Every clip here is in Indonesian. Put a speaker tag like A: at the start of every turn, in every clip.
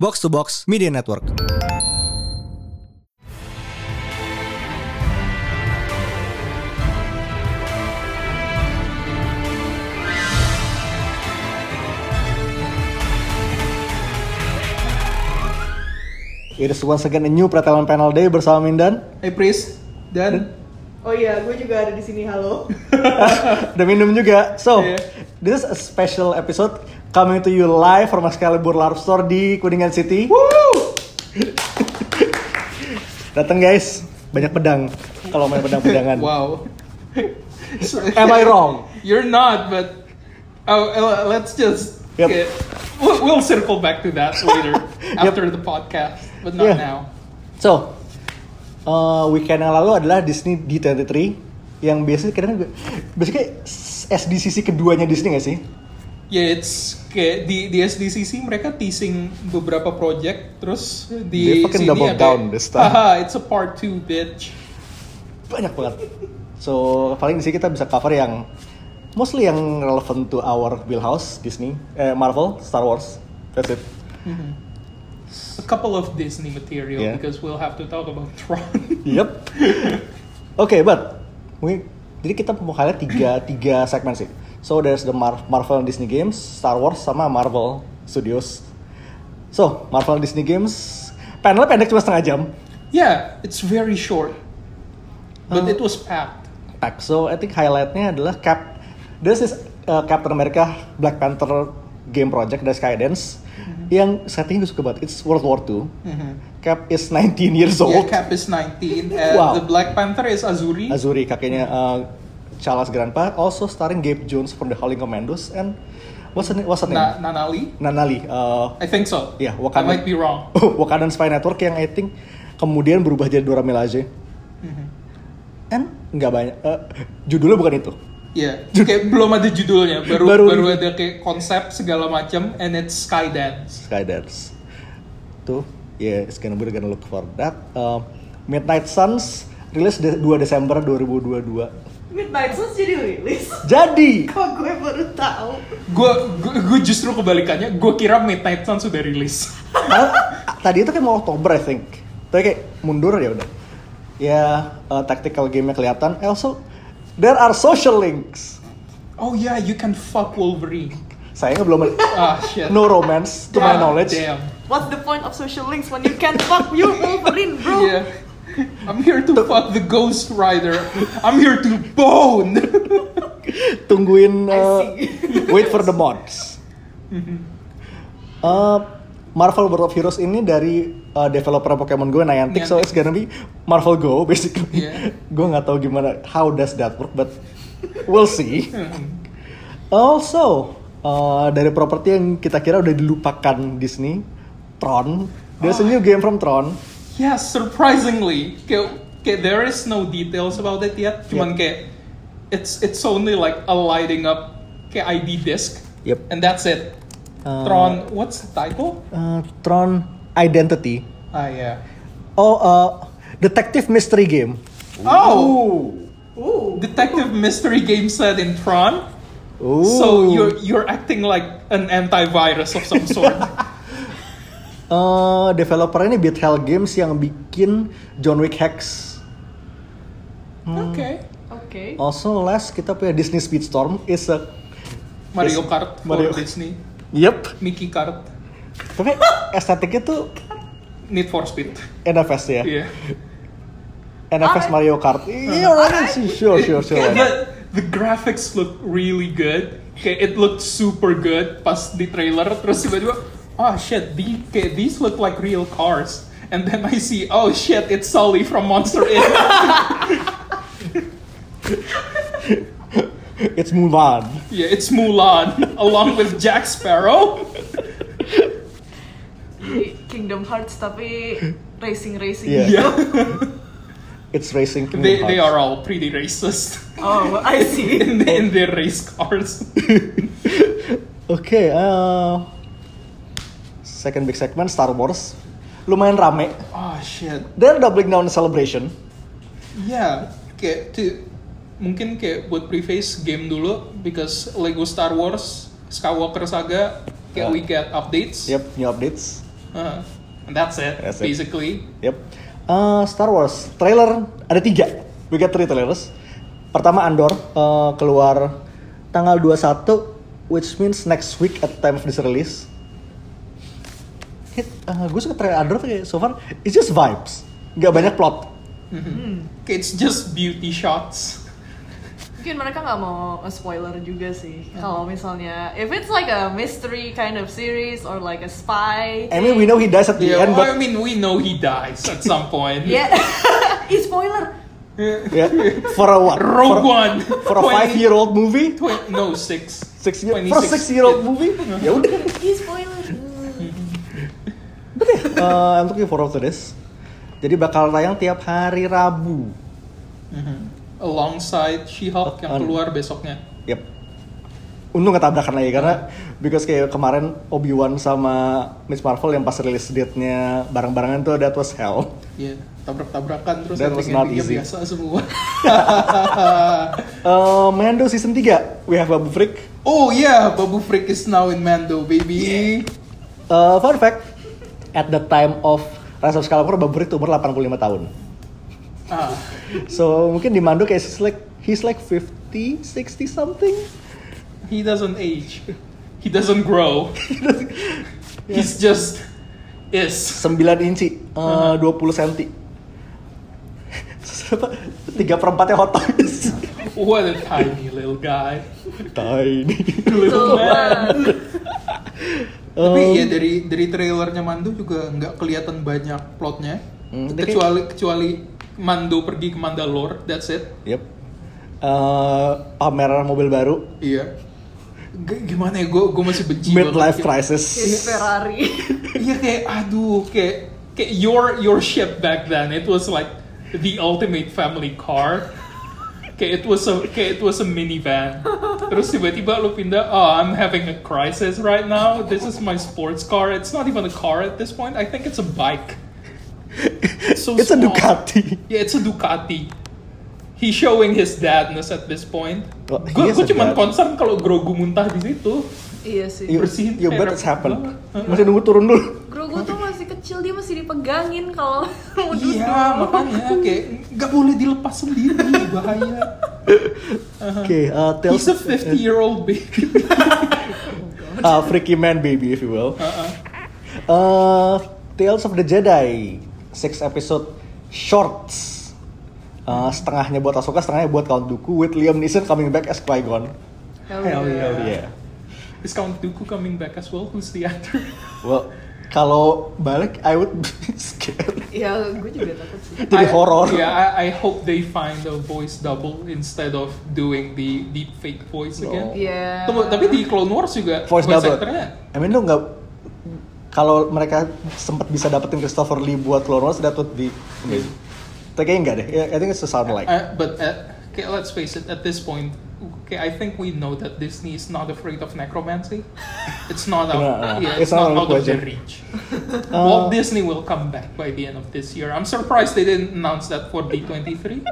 A: Box to Box Media Network. It is once again a new Pretelan Panel Day bersama Mindan
B: Hey Pris dan
C: Oh iya, gue juga ada di sini. Halo.
A: dan Minum juga. So,
B: Iya.
A: this is a special episode coming to you live from Excalibur Larp Store di Kuningan City.
B: Woo!
A: Datang guys, banyak pedang. Kalau main pedang-pedangan.
B: Wow.
A: Am I wrong?
B: You're not, but oh, uh, let's just
A: Yep.
B: get- we'll, we'll circle back to that later after the podcast, but not
A: Yeah.
B: now.
A: So, uh, weekend yang lalu adalah Disney D23 yang biasanya kadang biasanya SDCC keduanya Disney gak sih?
B: Ya, it's kayak di di SDCC mereka teasing beberapa project terus
A: They
B: di
A: fucking
B: sini
A: double
B: ada,
A: down this time.
B: Haha, it's a part 2 bitch.
A: Banyak banget. So, paling di sini kita bisa cover yang mostly yang relevant to our wheelhouse Disney, eh, Marvel, Star Wars. That's it.
B: A couple of Disney material
A: Yeah.
B: because we'll have to talk about Tron.
A: Yep. Oke, but we, jadi kita mau highlight tiga tiga segmen sih. So there's the Mar- Marvel and Disney Games, Star Wars sama Marvel Studios. So Marvel and Disney Games panelnya pendek cuma setengah jam.
B: yeah, it's very short. But
A: Uh,
B: it was packed.
A: Pack. So I think highlightnya adalah Cap. This is uh, Captain America Black Panther game project dari Skydance yang settingnya gue suka banget. It's World War II. Cap is 19 years
B: Mm-hmm. Yeah,
A: old.
B: Cap is 19 and
A: Wow.
B: the Black Panther is Azuri.
A: Azuri kakeknya uh, Charles Grandpa also starring Gabe Jones from The Howling Commandos and what's her, what's her name?
B: Na- Nanali?
A: Nanali uh,
B: I think so.
A: Yeah,
B: I
A: Wakanda.
B: might be wrong.
A: Wakandan Spy Network yang I think kemudian berubah jadi Dora Milaje and nggak banyak uh, judulnya bukan itu
B: Iya, kayak belum ada judulnya, baru
A: Baru-
B: baru, ada kayak konsep segala macam and it's Skydance.
A: Skydance tuh yeah it's gonna be gonna look for that Uh, Midnight Suns rilis de- 2 Desember 2022
C: Midnight Suns jadi rilis.
A: jadi
C: Kok gue baru tahu.
B: Gue gue justru kebalikannya, gue kira Midnight Sun sudah rilis.
A: Padahal, ah, tadi itu kan mau Oktober I think tapi kayak mundur ya udah ya eh, tactical game-nya kelihatan Eh, also there are social links
B: Oh yeah, you can fuck Wolverine.
A: sayangnya belum ada-
B: Ah shit.
A: no romance to my
B: God
A: knowledge
B: Damn.
C: What's the point of social links when you can't fuck you Wolverine, bro?
B: Yeah. I'm here to fuck the Ghost Rider. I'm here to bone.
A: tungguin
C: I
A: eh,
C: see.
A: wait for the mods
B: Mm-hmm.
A: Eh, Marvel World of Heroes ini dari eh, developer Pokemon Go Niantic, so it's gonna be Marvel Go basically.
B: Yeah.
A: Gue nggak tahu gimana how does that work, but we'll see.
B: Mm-hmm.
A: Also, uh, dari properti yang kita kira udah dilupakan Disney, Tron. There's
B: Oh.
A: a new game from Tron.
B: Yeah, surprisingly, kayak, kayak there is no details about it yet. Cuman kayak it's it's only like a lighting up kayak ID disc.
A: Yep.
B: And that's it.
A: Uh,
B: Tron, what's the title?
A: Uh, Tron Identity.
B: Ah yeah.
A: Oh, uh, detective mystery game.
B: Oh,
C: Ooh.
B: detective mystery game set in Tron.
A: Ooh.
B: So you're you're acting like an antivirus of some sort.
A: Uh, developer ini Beat Hell Games yang bikin John Wick Hex. Hmm.
B: okay.
C: Oke.
A: Also last kita punya Disney Speedstorm is a
B: Mario Kart for
A: Mario-
B: Disney.
A: Yep.
B: Mickey Kart.
A: Tapi estetiknya tuh
B: Need for Speed.
A: NFS ya.
B: Yeah.
A: NFS
C: Alright.
A: Mario Kart. Iya, right. sure, sure, sure.
B: Yeah, but the graphics look really good. Kayak it looked super good pas di trailer terus tiba-tiba oh shit the, kayak these look like real cars and then I see oh shit it's Sully from Monster Inc.
A: It's Mulan.
B: yeah, it's Mulan along with Jack Sparrow.
C: Jadi Kingdom Hearts tapi racing racing.
A: Iya.
B: Yeah.
A: It's Racing Kingdom
B: they they
A: Hearts.
B: are all pretty racist
C: Oh, I see.
B: in, in their race cars.
A: Oke, eh, second big segment Star Wars lumayan rame.
B: oh shit.
A: They're doubling down celebration.
B: Yeah, Iya, kayak to, mungkin kayak buat preface game dulu because Lego Star Wars Skywalker Saga Kayak
A: Yeah.
B: we get updates.
A: Ah. Yep, new updates.
B: Uh, and that's it,
A: That's it.
B: basically.
A: Yep. Eh, Star Wars trailer ada tiga. We got three trailers. Pertama Andor eh, keluar tanggal 21 which means next week at time of this release. Hit, eh, gue suka trailer Andor tuh kayak so far it's just vibes. Gak banyak plot.
B: Mm-hmm. Okay, It's just beauty shots.
C: Mungkin mereka nggak mau spoiler juga sih. Kalau misalnya, if it's like a mystery kind of series or like a spy.
A: I mean we know he dies at the
B: Yeah,
A: end
B: well,
A: but
B: I mean, we know he dies at some point.
C: Yeah, Ih, spoiler.
A: yeah, for a what? for,
B: Rogue One.
A: for a five year old movie?
B: Twen- no, six.
A: Six year, for a
B: 26.
A: six year old movie? Ya udah.
C: Ih, spoiler.
A: Eh, I'm looking forward to this. Jadi bakal tayang tiap hari Rabu.
B: Alongside She-Hulk yang
A: An-
B: keluar besoknya.
A: Yep. Untung ketabrakan lagi karena because kayak kemarin Obi Wan sama Miss Marvel yang pas rilis date-nya bareng-barengan tuh that was hell.
B: Iya, tabrak-tabrakan terus
A: That was
B: ending-endingnya
A: not easy.
B: biasa semua.
A: Eh, Mando season 3 we have Babu Frick.
B: oh yeah, Babu Frick is now in Mando, baby.
A: Eh, fun fact, at the time of Rise of Skywalker Babu Frick tuh umur 85 tahun.
B: Ah,
A: So mungkin di Mando kayak he's like he's like 50, 60 something.
B: he doesn't age. He doesn't grow. He's just is.
A: 9 inci, eh, 20 cm. Tiga perempatnya hot toys.
B: What a tiny little guy.
A: Tiny.
B: Little man.
A: uh,
B: Tapi
A: Um,
B: ya dari dari trailernya Mando juga nggak kelihatan banyak plotnya.
A: Hmm, dia
B: kecuali kecuali Mando pergi ke Mandalore, that's it.
A: Yep. Eh, pameran mobil baru,
B: Iya. G- gimana ya? Gue masih benci
A: midlife
B: banget.
C: Ini
A: crisis.
C: Ferrari.
B: Iya kayak aduh kayak kayak your your ship back then it was like the ultimate family car. Kayak it was a kayak it was a minivan. Terus tiba-tiba lu pindah, oh I'm having a crisis right now. This is my sports car. It's not even a car at this point. I think it's a bike. It's so
A: It's a
B: small.
A: Ducati.
B: Yeah, it's a Ducati. He's showing his dadness at this point.
A: Oh, he
B: Gue
A: is a
B: cuman
A: dad.
B: concern kalau Grogu muntah di situ.
C: iya sih.
A: You,
B: Bersihin
A: you bet
B: kayak Uh-huh.
A: it's happen.
B: banget.
A: Masih nunggu turun dulu.
C: Grogu tuh masih kecil, dia masih dipegangin kalau mau duduk.
B: Iya, makanya kayak nggak boleh dilepas sendiri, bahaya.
A: Oke, eh, Tales
B: He's a 50 year old baby.
A: eh, Freaky Man Baby if you will.
B: Uh-uh.
A: Eh, Tales of the Jedi, six episode shorts. Eh, setengahnya buat Ahsoka, setengahnya buat Count Dooku with Liam Neeson coming back as Qui-Gon.
B: Hell yeah.
A: Yeah.
B: Is Count Dooku coming back as well? Who's the actor?
A: Well, kalau balik I would be scared.
C: Ya, gue juga takut sih.
A: Jadi
B: I-
A: horor.
B: Yeah, I, I hope they find a voice double instead of doing the deep fake voice
A: No.
B: again.
C: Iya.
B: Tunggu, tapi di Clone Wars juga
A: Oh. voice double.
B: actornya-
A: I mean lu nggak kalau mereka sempat bisa dapetin Christopher Lee buat Clone Wars that would be amazing.
B: Iya.
A: Tapi kayaknya enggak deh. I think it's a sound like.
B: Uh, but uh, okay, let's face it. At this point, okay, I think we know that Disney is not afraid of necromancy. It's not out.
A: No, no, no.
B: yeah,
A: It's
B: it's,
A: not out
B: not,
A: of
B: out of Uh, their
A: budget.
B: reach. Walt Disney will come back by the end of this year. I'm surprised they didn't announce that for D23.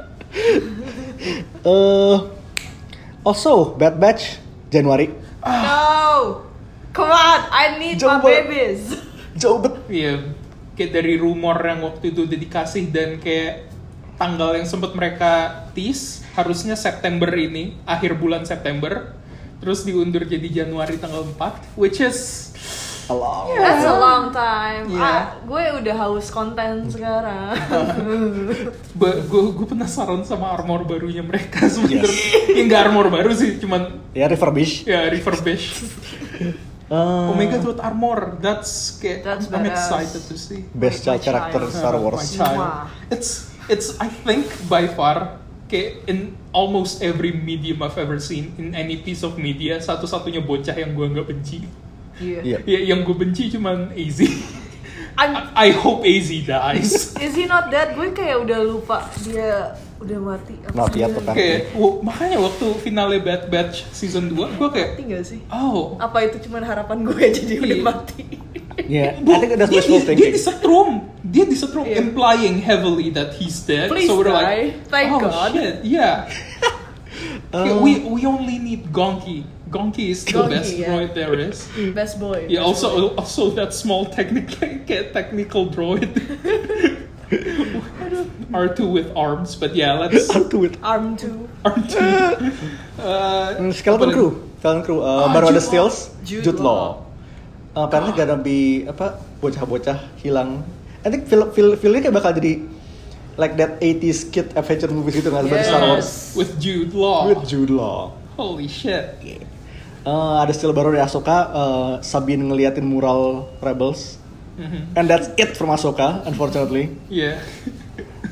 A: Eh, also Bad Batch Januari.
B: Ah.
C: No. Come on, I need
A: Jauh
C: my
A: banget.
C: babies.
A: Jauh bet.
B: Iya, kayak dari rumor yang waktu itu udah dikasih dan kayak tanggal yang sempat mereka tease harusnya September ini, akhir bulan September. Terus diundur jadi Januari tanggal 4, which is
A: Along.
C: That's a long time.
B: Iya.
C: Ah, gue udah haus konten sekarang.
B: gue gue penasaran sama armor barunya mereka sebenarnya ya nggak armor baru sih cuman
A: Ya refurbish.
B: ya Oh refurbish
A: Eh,
B: Omega Truth armor that's kayak
C: That's
B: I'm
C: badass.
B: excited to see Uh,
A: best
C: My
A: child character
C: child.
A: Star
B: my
A: Wars.
B: child
C: Wah.
B: it's it's I think by far kayak in almost every medium I've ever seen in any piece of media satu-satunya bocah yang gue nggak benci
A: Iya.
B: ya yang gue benci cuman AZ
C: I'm-
B: I, I hope AZ dies
C: is he not dead? Gue kayak udah lupa dia udah mati. apa
A: Not yet,
C: dia
A: tetap.
B: kayak wo- makanya waktu finale Bad Batch season 2 gue kayak
C: Mati gak sih?
B: oh
C: Apa itu cuman harapan gue jadi udah
B: Iya.
C: mati?
A: Yeah, I
B: Bu,
A: think that's
B: dia,
A: wishful
B: dia, dia
A: thinking.
B: disetrum. Dia disetrum,
C: Iya.
B: implying heavily that he's dead.
C: Please
B: so we're
C: die.
B: like,
C: Thank
B: oh
C: God."
B: shit, yeah. Okay,
A: Um,
B: we we only need Gonki Gonki is the
C: Gonki,
B: best
C: yeah.
B: droid there is.
C: Best boy.
B: Yeah,
C: best boy.
B: Iya. Ya, also also that small technical technical droid. R2 with arms, but yeah, let's
A: Satu with
C: Arm two.
B: R2. Uh,
A: Hmm, Skeleton
B: apalagi-
A: Crew, Skeleton Crew, uh,
B: Ah,
A: baru
B: Jude
A: ada Stills,
C: Law. Ah. Jude
A: Jude, Law. Uh, apparently gonna be apa bocah-bocah hilang. I think feel feel feelnya kayak bakal jadi like that 80s kid adventure movie gitu nggak seperti Star
B: Uh,
A: Wars
C: Yes.
B: with Jude Law.
A: with Jude Law.
B: Holy shit.
A: Uh, ada still baru dari Ahsoka, uh, Sabine ngeliatin mural Rebels.
B: Mhm.
C: Mm-hmm.
A: And that's it from Ahsoka, unfortunately.
B: Yeah.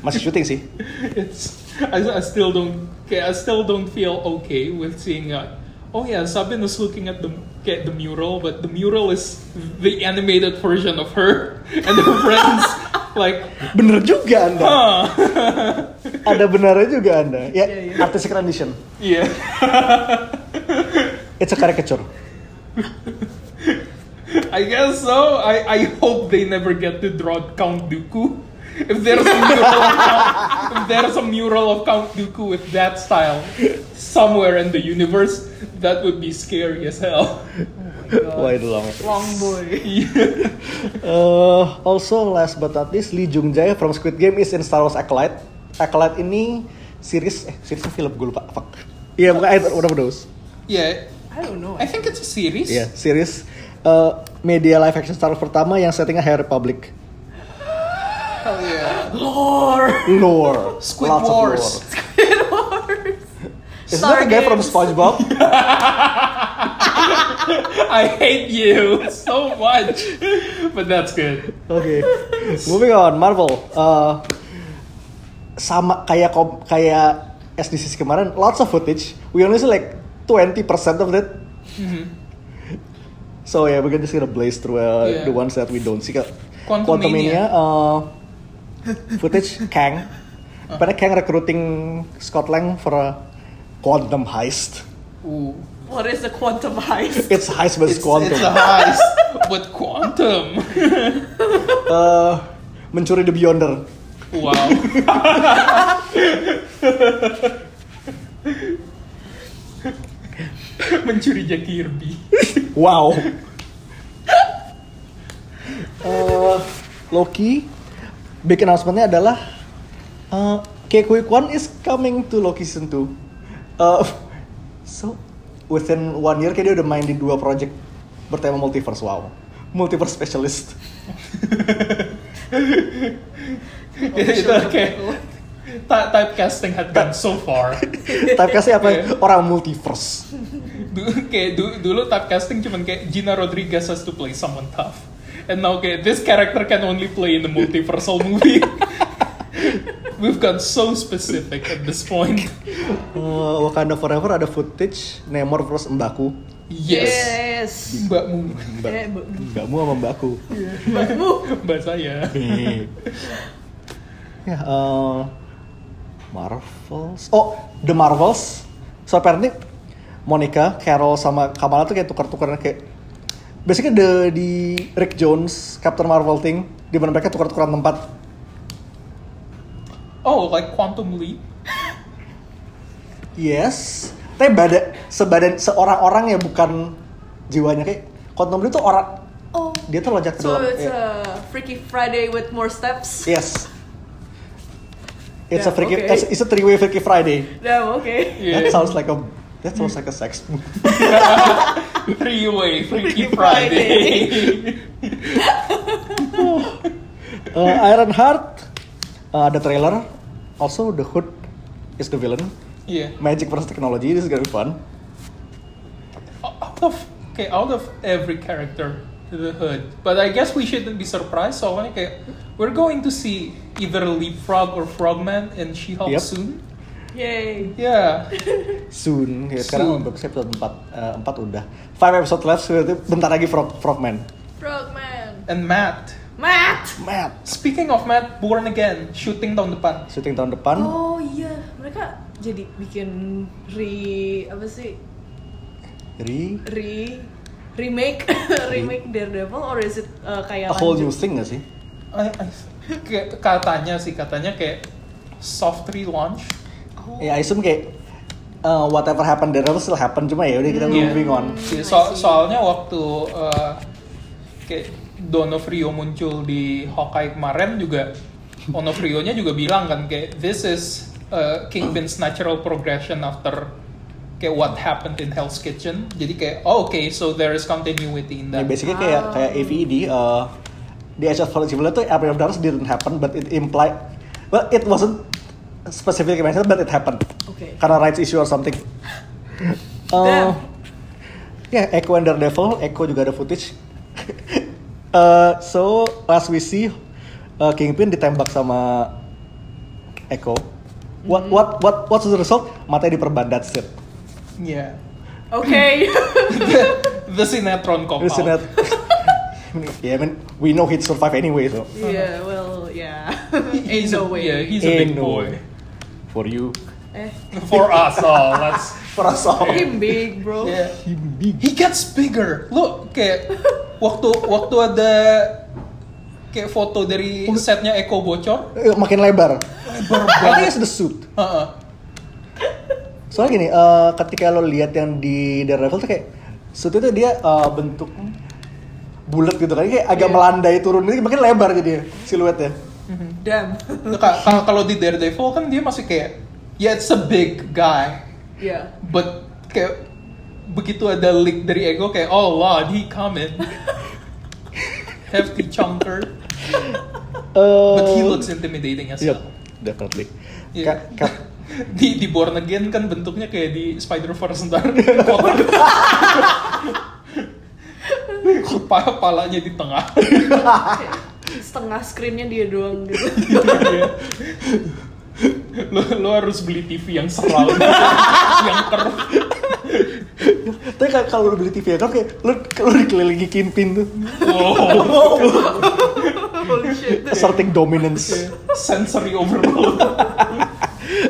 A: Masih syuting sih.
B: It's I, I still don't okay, I still don't feel okay with seeing uh, oh yeah Sabine is looking at the get the mural but the mural is the animated version of her and her friends like
A: Bener juga anda.
B: huh
A: Ada benarnya juga anda. Ya,
C: Iya, iya.
A: artistic rendition.
B: yeah
A: It's a caricature.
C: Oh
B: I guess so I I hope they never get to draw Count Dooku if there's a mural of Count, if there's a mural of Count Dooku with that style somewhere in the universe that would be scary as hell.
A: Wah itu lama.
C: Long boy.
B: Yeah.
A: Uh, also last but not least Lee Jung Jae from Squid Game is in Star Wars Acolyte. Acolyte ini series eh series film gue lupa fuck. Iya bukan eh, one of those.
B: Yeah,
C: I don't know.
B: I think it's a series.
A: Iya series uh, media live action Star Wars pertama yang settingnya High Republic.
B: Hell yeah.
C: Lore.
A: Lore.
B: Squid
A: Lots of
B: Wars.
A: lore. Is
C: Star
A: that the guy from
C: Games.
A: SpongeBob?
B: I hate you so much, but that's good.
A: Oke. Moving on Marvel. Uh, sama kayak kom- kayak SDCs kemarin, lots of footage. We only see like 20% of that.
B: Mm-hmm.
A: So yeah, we're just gonna blaze through uh,
B: Yeah.
A: the ones that we don't see.
B: Quantumania.
A: uh, footage Kang.
B: Uh.
A: Pada Kang recruiting Scott Lang for a quantum heist.
B: Ooh.
C: What is the quantum heist?
A: It's heist but it's, quantum.
B: It's a heist, but quantum.
A: Uh, mencuri the Beyonder.
B: Wow. Mencuri Jack Kirby.
A: Wow. Eh, Loki, big announcement-nya adalah eh Kekwe Kwan is coming to Loki season 2. Eh, so, within one year kayak dia udah main di dua project bertema multiverse, wow. Multiverse specialist.
B: Itu kayak ty- typecasting had gone so far.
A: Typecastnya apa? ya?
B: Iya.
A: Orang multiverse.
B: Du- kayak du- dulu typecasting cuman kayak Gina Rodriguez has to play someone tough. And now kayak this character can only play in the multiversal movie. We've gone so specific at this point.
A: Eh, Wakanda Forever ada footage Namor versus Mbaku.
B: Yes.
C: Yes.
B: Mbakmu.
C: Eh, bu-
A: Mbakmu sama Mbaku.
B: Mbak saya.
A: ya, eh, Marvels. Oh, The Marvels. So apparently Monica, Carol sama Kamala tuh kayak tukar-tukaran kayak basically the di Rick Jones Captain Marvel thing di mana mereka tukar-tukaran tempat.
B: Oh, like Quantum Leap.
A: Yes. Tapi badan sebadan seorang-orang ya bukan jiwanya kayak Quantum Leap tuh orang
C: Oh.
A: dia tuh loncat ke
C: So
A: dalam.
B: eh.
C: it's
A: ya.
C: a Freaky Friday with more steps.
A: Yes. It's a
C: Yeah,
A: freaky,
C: okay.
A: it's, it's a three-way freaky Friday.
C: Damn, Oh, okay.
B: Yeah.
A: That sounds like a that sounds like a sex movie.
B: Three way Freaky
C: Freaky
B: Friday.
A: uh, Iron Heart uh, ada trailer also the hood is the villain
B: yeah.
A: magic versus technology this is gonna be fun
B: Out of okay, out of every character to the hood, but I guess we shouldn't be surprised. So like, okay, we're going to see either Leapfrog or Frogman in She-Hulk
A: Yep.
B: soon.
C: Yay.
B: Yeah,
A: soon ya sekarang
B: Soon.
A: untuk episode 4 empat udah 5 episode left berarti bentar lagi Frog Frogman
C: Frogman.
B: and Matt.
C: Matt.
A: Matt
B: Speaking of Matt, Born Again, shooting down the pan.
A: syuting tahun depan
C: Oh iya, mereka jadi bikin re apa sih?
A: Ri
C: Re remake remake Daredevil or is it uh, kayak
A: a whole new
C: lanjut?
A: thing gak sih
B: I, I, kayak- katanya sih katanya kayak soft relaunch.
C: Oh.
A: ya I assume kayak eh, whatever happened there will still happen cuma ya udah kita
B: Iya.
A: moving on.
B: Iya, so- soalnya waktu eh, kayak Donofrio muncul di Hawkeye kemarin juga Onofrio-nya juga bilang kan kayak this is eh, Kingpin's natural progression after kayak what happened in Hell's Kitchen. Jadi kayak oh, okay, so there is continuity in
A: Nah,
B: that.
A: basically kayak kayak AVED eh di Age of Fallen tuh April of Darkness didn't happen but it implied well it wasn't specifically mentioned but it happened
C: Okay.
A: karena rights issue or something.
C: Damn.
A: Oh. ya yeah, Echo and Daredevil, Echo juga ada footage. Eh, so as we see eh, Kingpin ditembak sama Echo. What what what what's the result? Matanya diperban that's it.
B: Yeah.
C: Okay.
B: The Sinetron compound.
A: Terus Sinet- yeah, I mean, we know he'd survive anyway though.
C: yeah. Well, yeah.
B: He's
C: Ain't
B: a,
C: no way.
B: yeah, he's a
A: Ain't
B: big
A: no
B: boy.
A: way. For you.
C: Eh,
B: For us all, that's
A: For us all.
C: him big, bro.
B: yeah.
A: He big.
B: He gets bigger. Look, kayak waktu waktu ada kayak foto dari setnya Eko bocor.
A: Eh, Makin lebar. I think it's the suit.
B: Heeh.
A: Soalnya gini, eh, ketika lo lihat yang di Daredevil tuh kayak suit itu dia eh, bentuk bulat gitu kan, kayak agak
B: Iya.
A: melandai turun, ini makin lebar jadi siluetnya.
C: Damn.
B: Nah, ka- ka- Kalau di Daredevil kan dia masih kayak yeah it's a big guy,
C: Yeah.
B: but kayak begitu ada leak dari Eko kayak oh lord he coming. Hefty chunker, but he
A: Oh.
B: looks intimidating as
A: Eh, Yep,
B: well.
A: definitely.
B: Iya.
A: Ka- ka-
B: Di, di Born Again kan bentuknya kayak di Spider Verse ntar kotak. Kepala palanya di tengah.
C: Kayak Setengah screennya dia doang gitu.
B: lo, lo harus beli TV yang surround, yang curve.
A: Tapi ka- kalau lo beli TV ya, kan kayak lo, lo dikelilingi kinpin tuh,
B: Wow,
C: Holy shit.
A: asserting dominance.
B: sensory overload.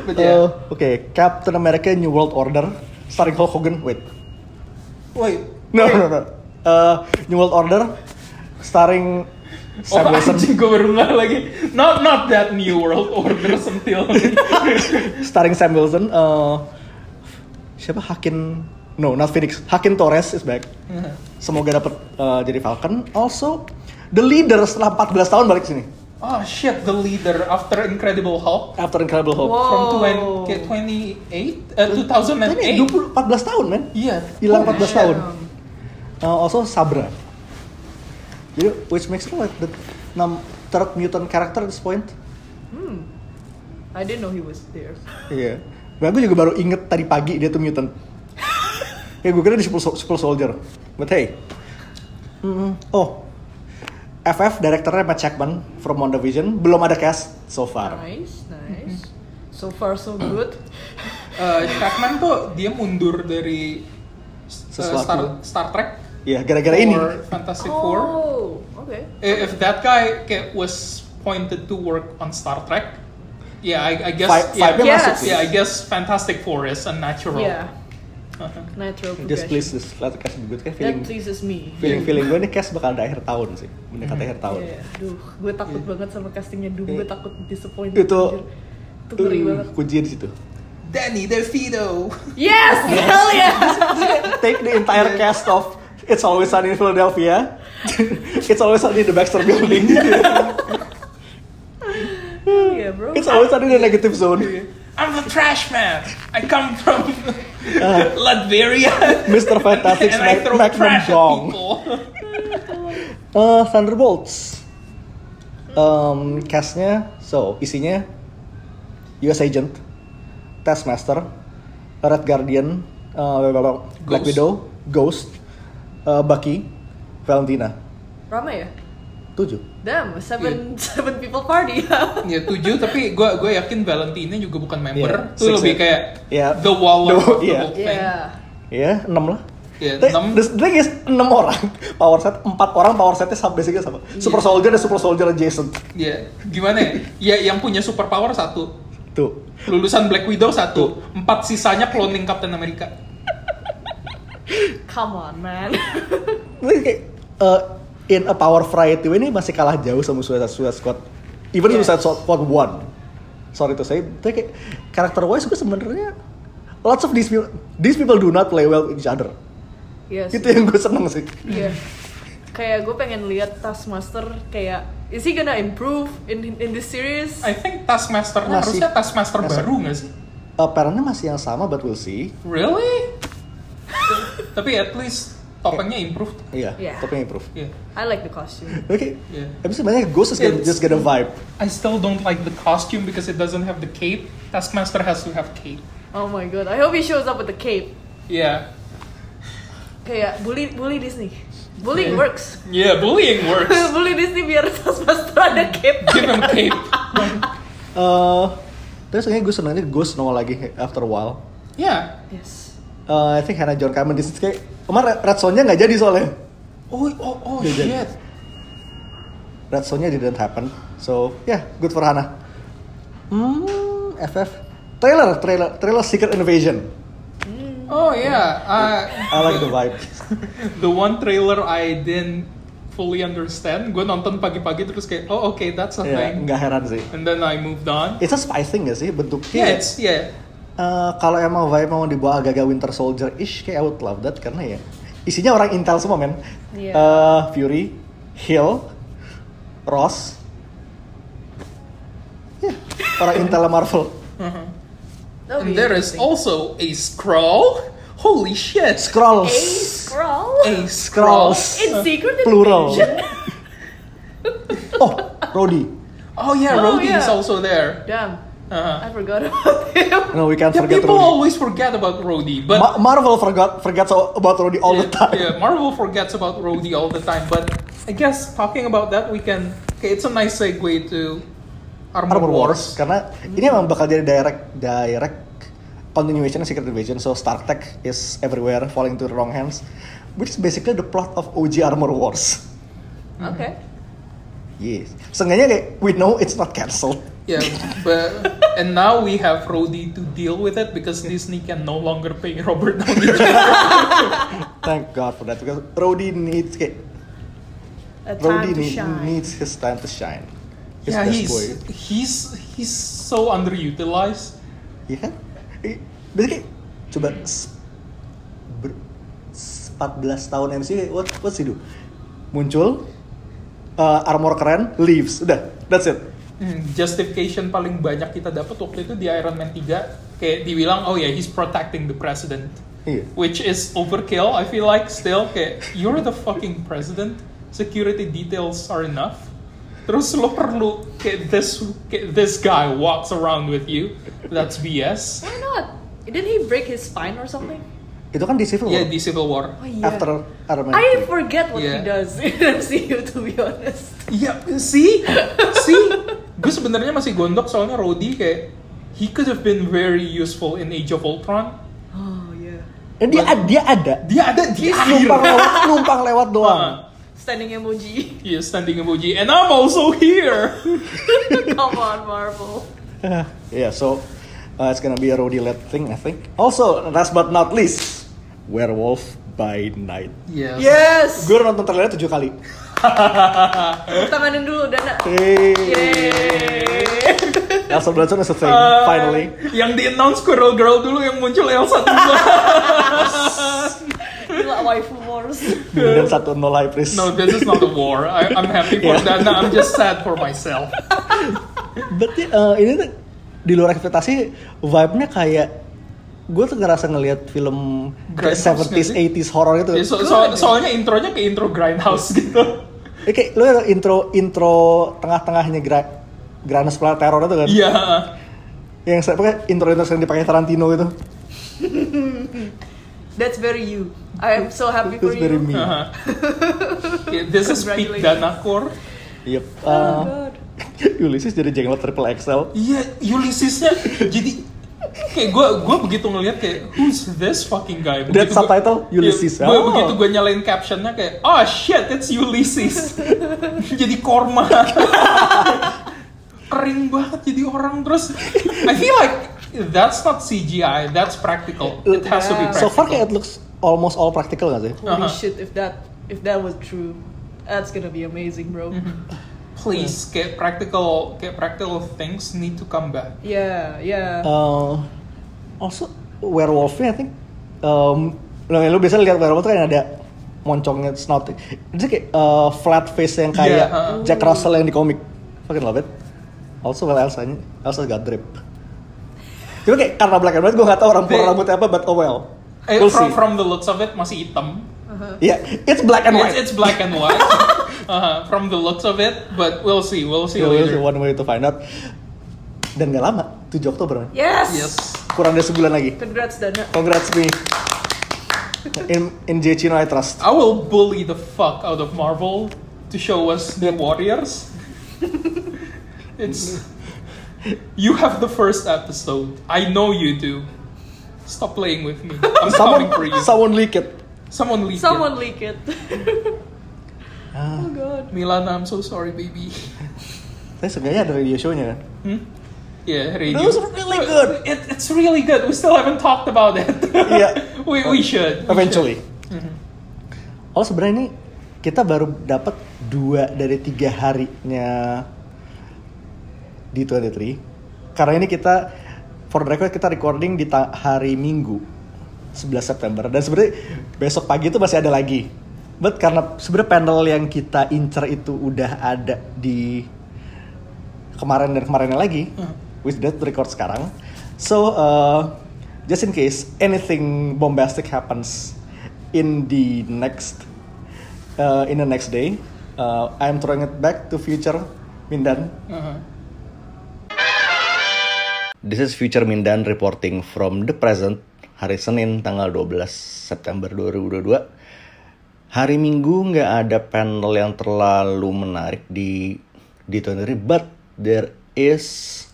B: But
A: Eh,
B: yeah.
A: Oke, Captain America New World Order, starring Hulk Hogan. Wait,
B: Wait.
A: no no no. Eh, New World Order, starring
B: Oh,
A: Sam Wilson.
B: anjing, gue baru ngeh lagi. Not not that new world order sentil.
A: starring Sam Wilson. eh, siapa Hakim? No, not Phoenix. Hakim Torres is back. Semoga dapat eh, jadi Falcon. Also, the leader setelah 14 tahun balik sini.
B: oh shit, the leader after Incredible Hulk
A: After Incredible Hulk.
C: Wow.
B: from
C: Oh.
B: 20, kayak 28
C: Uh,
B: eh,
A: Ini 20
B: 2008
A: 14 tahun, men.
B: iya
A: Hilang
B: Oh,
A: 14
B: shit.
A: tahun.
C: um,
A: Eh, also Sabra. Jadi, which makes me like the nam- third mutant character at this point.
C: I didn't know he was there.
A: Iya. Dan gue juga baru inget tadi pagi dia tuh mutant. ya gue kira di 10, sol- 10 soldier. But hey. Mm, oh. FF direkturnya Matt Checkman from WandaVision belum ada cast so far.
C: Nice, nice. So far so good.
B: Eh, Shackman tuh dia mundur dari eh,
A: Sesuatu.
B: Star, Star Trek
A: Ya, gara-gara ini.
B: or Fantastic Four
C: Oh, okay.
B: Eh, if that guy kayak was pointed to work on Star Trek yeah I, I guess
A: Vibe-
B: yeah,
A: vibe-nya
C: Yes. masuk sih.
B: yeah I guess Fantastic Four is unnatural
C: Yeah.
B: Uh-huh.
C: Natural progression.
A: Just please, just let the cast be good kayak feeling.
C: That pleases me.
A: Feeling feeling gue ini cast bakal ada akhir tahun sih, mendekati akhir tahun.
C: Iya, Duh, gue takut banget sama castingnya Duh, gue
A: Iya.
C: takut disappoint
A: Itu-
C: anjir. Itu iya. ngeri
A: Uh,
C: banget
A: kuncinya di situ.
B: Danny DeVito
C: Yes, hell yeah
A: Take the entire cast of It's Always Sunny in Philadelphia. It's Always Sunny in the Baxter Building.
C: Hell yeah bro
A: It's Always Sunny in the Negative
C: Iya.
A: Zone.
B: I'm the trash man. I come from Latveria.
A: Mr. Uh. Fantastic
B: and I
A: Mag-
B: throw
A: Magnum
B: trash at
A: Dong.
B: people.
A: Eh, Thunderbolts. Em, castnya, so isinya US Agent, Taskmaster, Red Guardian, eh, bla- bla- bla- Black
B: Ghost.
A: Widow, Ghost, eh, Bucky, Valentina.
C: Ramai ya?
A: Tujuh.
C: Damn, seven, seven people party
B: Ya tujuh, tapi gue gue yakin Valentine juga bukan member.
A: Yeah,
B: Itu
A: six,
B: lebih
A: yeah.
B: kayak
A: Yeah.
B: the waller
A: Iya, The- iya.
B: of the
A: yeah.
B: whole thing.
C: Yeah
A: Ya, enam lah.
B: Ya,
A: Tapi
B: enam.
A: The the thing is, enam orang. Power set, empat orang power setnya sama, basicnya sama. Super
B: Iya.
A: Soldier dan Super Soldier Jason.
B: Ya, gimana ya? Ya yang punya superpower satu,
A: Tuh.
B: lulusan Black Widow satu, empat sisanya cloning Captain America.
C: Come on man
A: Tapi kayak eh, in a power variety ini masih kalah jauh sama Suicide, Suicide Squad. Even
B: Yes.
A: Suicide Squad 1. Sorry to say, tapi kayak karakter wise gue sebenarnya lots of these people, these people do not play well with each other.
C: Iya sih.
A: Itu yang gue seneng sih.
C: Iya. Kayak gue pengen lihat Taskmaster kayak is he gonna improve in in this series?
B: I think Taskmaster
A: Masih.
B: harusnya Taskmaster
A: Masih.
B: baru nggak sih?
A: Apparently Eh, masih yang sama, but we'll see.
B: Really? Tapi at least topengnya improved.
A: Iya,
C: Iya.
A: tapi improve.
B: Yeah.
C: I like the costume.
A: Oke,
B: Iya.
A: habis itu banyak ghost just get,
B: It's-
A: just get a vibe.
B: I still don't like the costume because it doesn't have the cape. Taskmaster has to have cape.
C: Oh my god, I hope he shows up with the cape.
B: Yeah.
C: Kayak bully bully Disney. Bullying
B: Yeah.
C: works.
B: Yeah, bullying works.
C: bully Disney biar Taskmaster ada cape.
B: Give him cape.
A: Eh, terus kayaknya gue senengnya ghost nongol lagi after a while.
B: Yeah.
C: Yes.
A: Eh, I think Hannah John Cameron di situ kayak kemarin Red Sonja nggak jadi soalnya.
B: Oh, oh, oh,
A: Yeah,
B: shit.
A: yeah. Red Sonja didn't happen. So yeah, good for Hannah. Hmm, FF trailer trailer trailer Secret Invasion.
B: Oh, yeah.
A: I like the vibe.
B: Uh, the one trailer I didn't fully understand, gue nonton pagi-pagi terus kayak, oh, okay, that's a
A: Ya,
B: thing.
A: nggak heran sih.
B: And then I moved on.
A: It's a spy thing gak sih bentuknya?
B: Yeah, it's, yeah.
A: Eh, kalau emang vibe mau dibawa agak-agak Winter Soldier ish kayak I would love that karena ya isinya orang intel semua men.
C: Iya.
A: Eh, Fury, Hill, Ross. Ya, orang intel Marvel.
C: That'll be
B: And there is
C: interesting.
B: also a scroll. Holy shit.
A: Scrolls.
C: a scroll.
B: A scroll.
A: Scrolls.
C: In secret
A: Plural.
C: invasion.
A: Oh, Rhodey.
B: Oh yeah,
C: Oh,
B: Rhodey is
C: yeah.
B: also there.
C: Damn,
B: Uh-huh.
C: I forgot about him.
A: No, we can't
B: Yeah,
A: forget
B: people
A: Rhodey.
B: always forget about Rhodey, but
A: Ma- Marvel forgot forgets about Rhodey all the
B: Yeah,
A: time.
B: Yeah, Marvel forgets about Rhodey all the time, but I guess talking about that we can. Okay, it's a nice segue to Armor,
A: Armor Wars
B: Wars.
A: karena ini emang bakal jadi direct direct continuation of Secret Invasion so Star Trek is everywhere falling to the wrong hands which is basically the plot of OG Armor Wars Mm.
C: Okay.
A: yes seenggaknya kayak we know it's not cancelled
B: Yeah, but and now we have Rhodey to deal with it because Disney can no longer pay Robert Downey Jr.
A: thank god for that because Rhodey needs kayak
C: A time
A: Rhodey
C: to
A: need-
C: shine.
A: needs his time to shine his
B: yeah,
A: best
B: he's
A: boy
B: he's he's so underutilized.
A: iya kan I- basically coba s- ber- s- 14 tahun MC what what's he do muncul uh, armor keren leaves udah that's it
B: Hmm, Justification paling banyak kita dapat waktu itu di Iron Man 3 kayak dibilang oh yeah he's protecting the president.
A: Iya.
B: Which is overkill, I feel like still kayak you're the fucking president. Security details are enough. Terus lo perlu kayak this kayak this guy walks around with you. That's BS.
C: Why not? Didn't he break his spine or something?
A: Itu kan di Civil War.
B: Yeah, Iya, di Civil War.
C: Oh yeah.
A: After Iron Man.
C: I
A: 3.
C: forget what
B: Yeah.
C: he does in MCU to be honest.
B: Iya, see? see? Gue sebenarnya masih gondok soalnya Rhodey kayak he could have been very useful in Age of Ultron.
C: Oh yeah.
A: Eh, dia dia ada.
B: Dia ada di akhir.
A: Numpang lewat, numpang lewat doang.
B: Ah,
C: Standing emoji.
B: Iya, standing emoji. And I'm also here.
C: Come on, Marvel.
A: yeah, so uh, it's gonna be a Rhodey led thing, I think. Also, last but not least, Werewolf by Night.
B: Yes.
C: Yes.
A: Gue udah nonton trailernya tujuh kali.
C: Tepuk Tanganin dulu Dana.
A: Hey. Elsa Blanchard is a thing,
B: Uh,
A: finally.
B: Yang di announce Squirrel Girl dulu yang muncul Elsa dua.
C: Gila waifu wars.
A: Dan satu nol high priest.
B: no, this is not a war. I, I'm happy for
A: Yeah.
B: Dana. I'm just sad for myself.
A: Berarti eh, ini tuh di luar ekspektasi vibe-nya kayak gue tuh ngerasa ngelihat film kayak
B: Grindhouse
A: 70s,
B: nggak sih?
A: 80s horror itu.
B: Ya, so- so- soalnya intronya ke intro Grindhouse gitu.
A: Oke, Eh, lu ada intro intro tengah-tengahnya gra Granus Planet Terror itu kan?
B: Iya. uh-huh.
A: Yang saya pakai intro intro yang dipakai Tarantino itu.
C: That's very you. I am so happy for
A: Itu very
C: you.
A: me.
C: Oh
B: Uh-huh. Yeah, this is peak
C: Congratulations.
B: Dana core.
A: Yep.
C: Oh
A: Uh,
C: god.
A: Ulysses jadi jenglot triple XL.
B: Iya, Ulyssesnya jadi kayak gue gue begitu ngeliat kayak who's this fucking guy?
A: That
B: Begitu gua-
A: subtitle, Ulysses.
B: Iya, gua-
A: Oh.
B: Begitu gue nyalain captionnya kayak oh shit it's Ulysses. jadi korma. Kering banget jadi orang terus. I feel like that's not CGI, that's practical. It has to be practical.
A: So far kayak it looks almost all practical gak sih?
B: Uh-huh.
C: Holy shit if that if that was true. That's gonna be amazing, bro.
B: Mhm. please kayak practical kayak practical things need to come back.
C: Yeah, yeah.
A: Uh, also werewolfnya I think um, lo lo biasa lihat werewolf tuh kan ada moncongnya snout itu kayak uh, flat face yang kayak
B: Yeah, uh-uh.
A: Jack Russell yang di komik fucking love it also well Elsa nya Elsa got drip cuma kayak karena black and white gue gak tau orang
B: They-
A: rambutnya apa but oh well
B: Eh,
A: we'll
B: from,
A: see
B: from the looks of it masih hitam.
A: yeah it's black and white
B: It's, it's black and white. uh, from the looks of it, but we'll see. We'll see
A: So, it's
B: later.
A: one way to find out dan gak lama 7 Oktober man.
C: Yes.
B: Yes.
A: kurang dari sebulan lagi
C: Congrats Dana.
A: congrats me in in J Chino I trust
B: I will bully the fuck out of Marvel to show us the Warriors. it's. You have the first episode. I know you do. Stop playing with me. I'm
A: someone
B: coming for you.
A: someone leak it
B: Someone leak
C: Someone
B: it.
C: leak it.
A: Ah.
C: oh god.
B: Milana, I'm so sorry, baby. Hmm?
A: Tapi seenggaknya ada radio show-nya kan?
B: Yeah, radio.
A: That was really good.
B: It, it's really good. We still haven't talked about it.
A: Yeah.
B: we, we should. We
A: Iya. Eventually. Mm-hmm. Oh sebenarnya ini kita baru dapat dua dari tiga harinya di 23. Karena ini kita for the record kita recording di ta- hari Minggu 11 September dan sebenarnya besok pagi itu masih ada lagi. But karena sebenarnya panel yang kita incer itu udah ada di kemarin dan kemarinnya lagi with that record sekarang so uh, just in case anything bombastic happens in the next uh, in the next day uh, I'm throwing it back to future Mindan
B: should. Uh-huh.
A: This is Future Mindan reporting from the present hari Senin tanggal 12 September 2022. Hari Minggu nggak ada panel yang terlalu menarik di di Toneri, but there is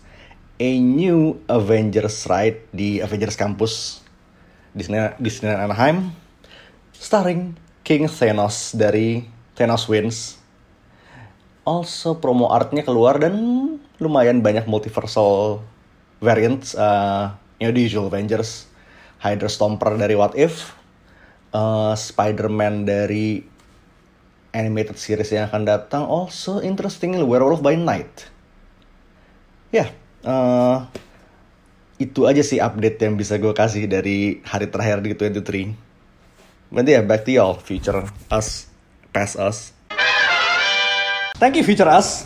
A: a new Avengers ride di Avengers Campus di Disney- Disneyland Anaheim starring King Thanos dari Thanos Wins also promo artnya keluar dan lumayan banyak multiversal variants uh, you know, the usual Avengers Hydra Stomper dari What If uh, Spider-Man dari animated series yang akan datang also interestingly Werewolf by Night ya eh, itu aja sih update yang bisa gue kasih dari hari terakhir di 23 berarti ya back to y'all future us past us Thank you, future us.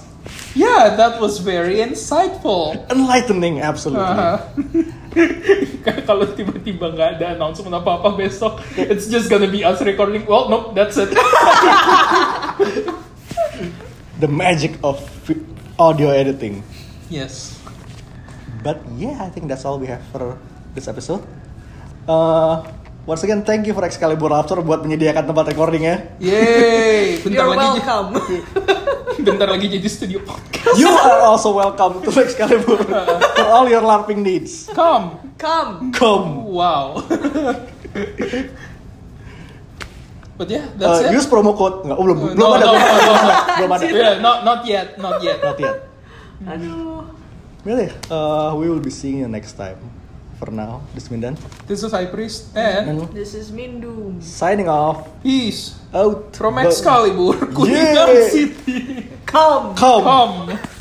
B: Yeah, that was very insightful.
A: Enlightening, absolutely.
B: Uh, kalau tiba-tiba nggak ada announcement apa-apa besok, it's just gonna be us recording. Well, nope, that's it.
A: The magic of fi- audio editing.
B: yes.
A: But yeah, I think that's all we have for this episode. Uh, once again, thank you for Excalibur Raptor buat menyediakan tempat ya. recordingnya.
B: Yay! Bentar
C: You're
B: lagi,
C: welcome.
B: bentar lagi jadi studio podcast.
A: You are also welcome to Excalibur for all your LARPing needs.
B: Come.
C: Come.
A: Come.
B: Wow. But yeah, that's
A: Uh,
B: it.
A: use promo code. Nggak, oh, belum,
B: No,
A: belum
B: no,
A: ada.
B: no,
A: belum
B: no, no.
A: ada, belum ada.
B: Yeah, not not yet, not yet.
A: Not yet.
C: Aduh.
A: Really, uh, we will be seeing you next time. For now, this is Mindan.
B: This is High Priest and
A: And
C: This is Mindum.
A: signing off.
B: peace
A: Out.
B: from
A: But-
B: Excalibur, Kunigam
A: Yeah.
B: City.
C: Come.
A: Come.
B: Come.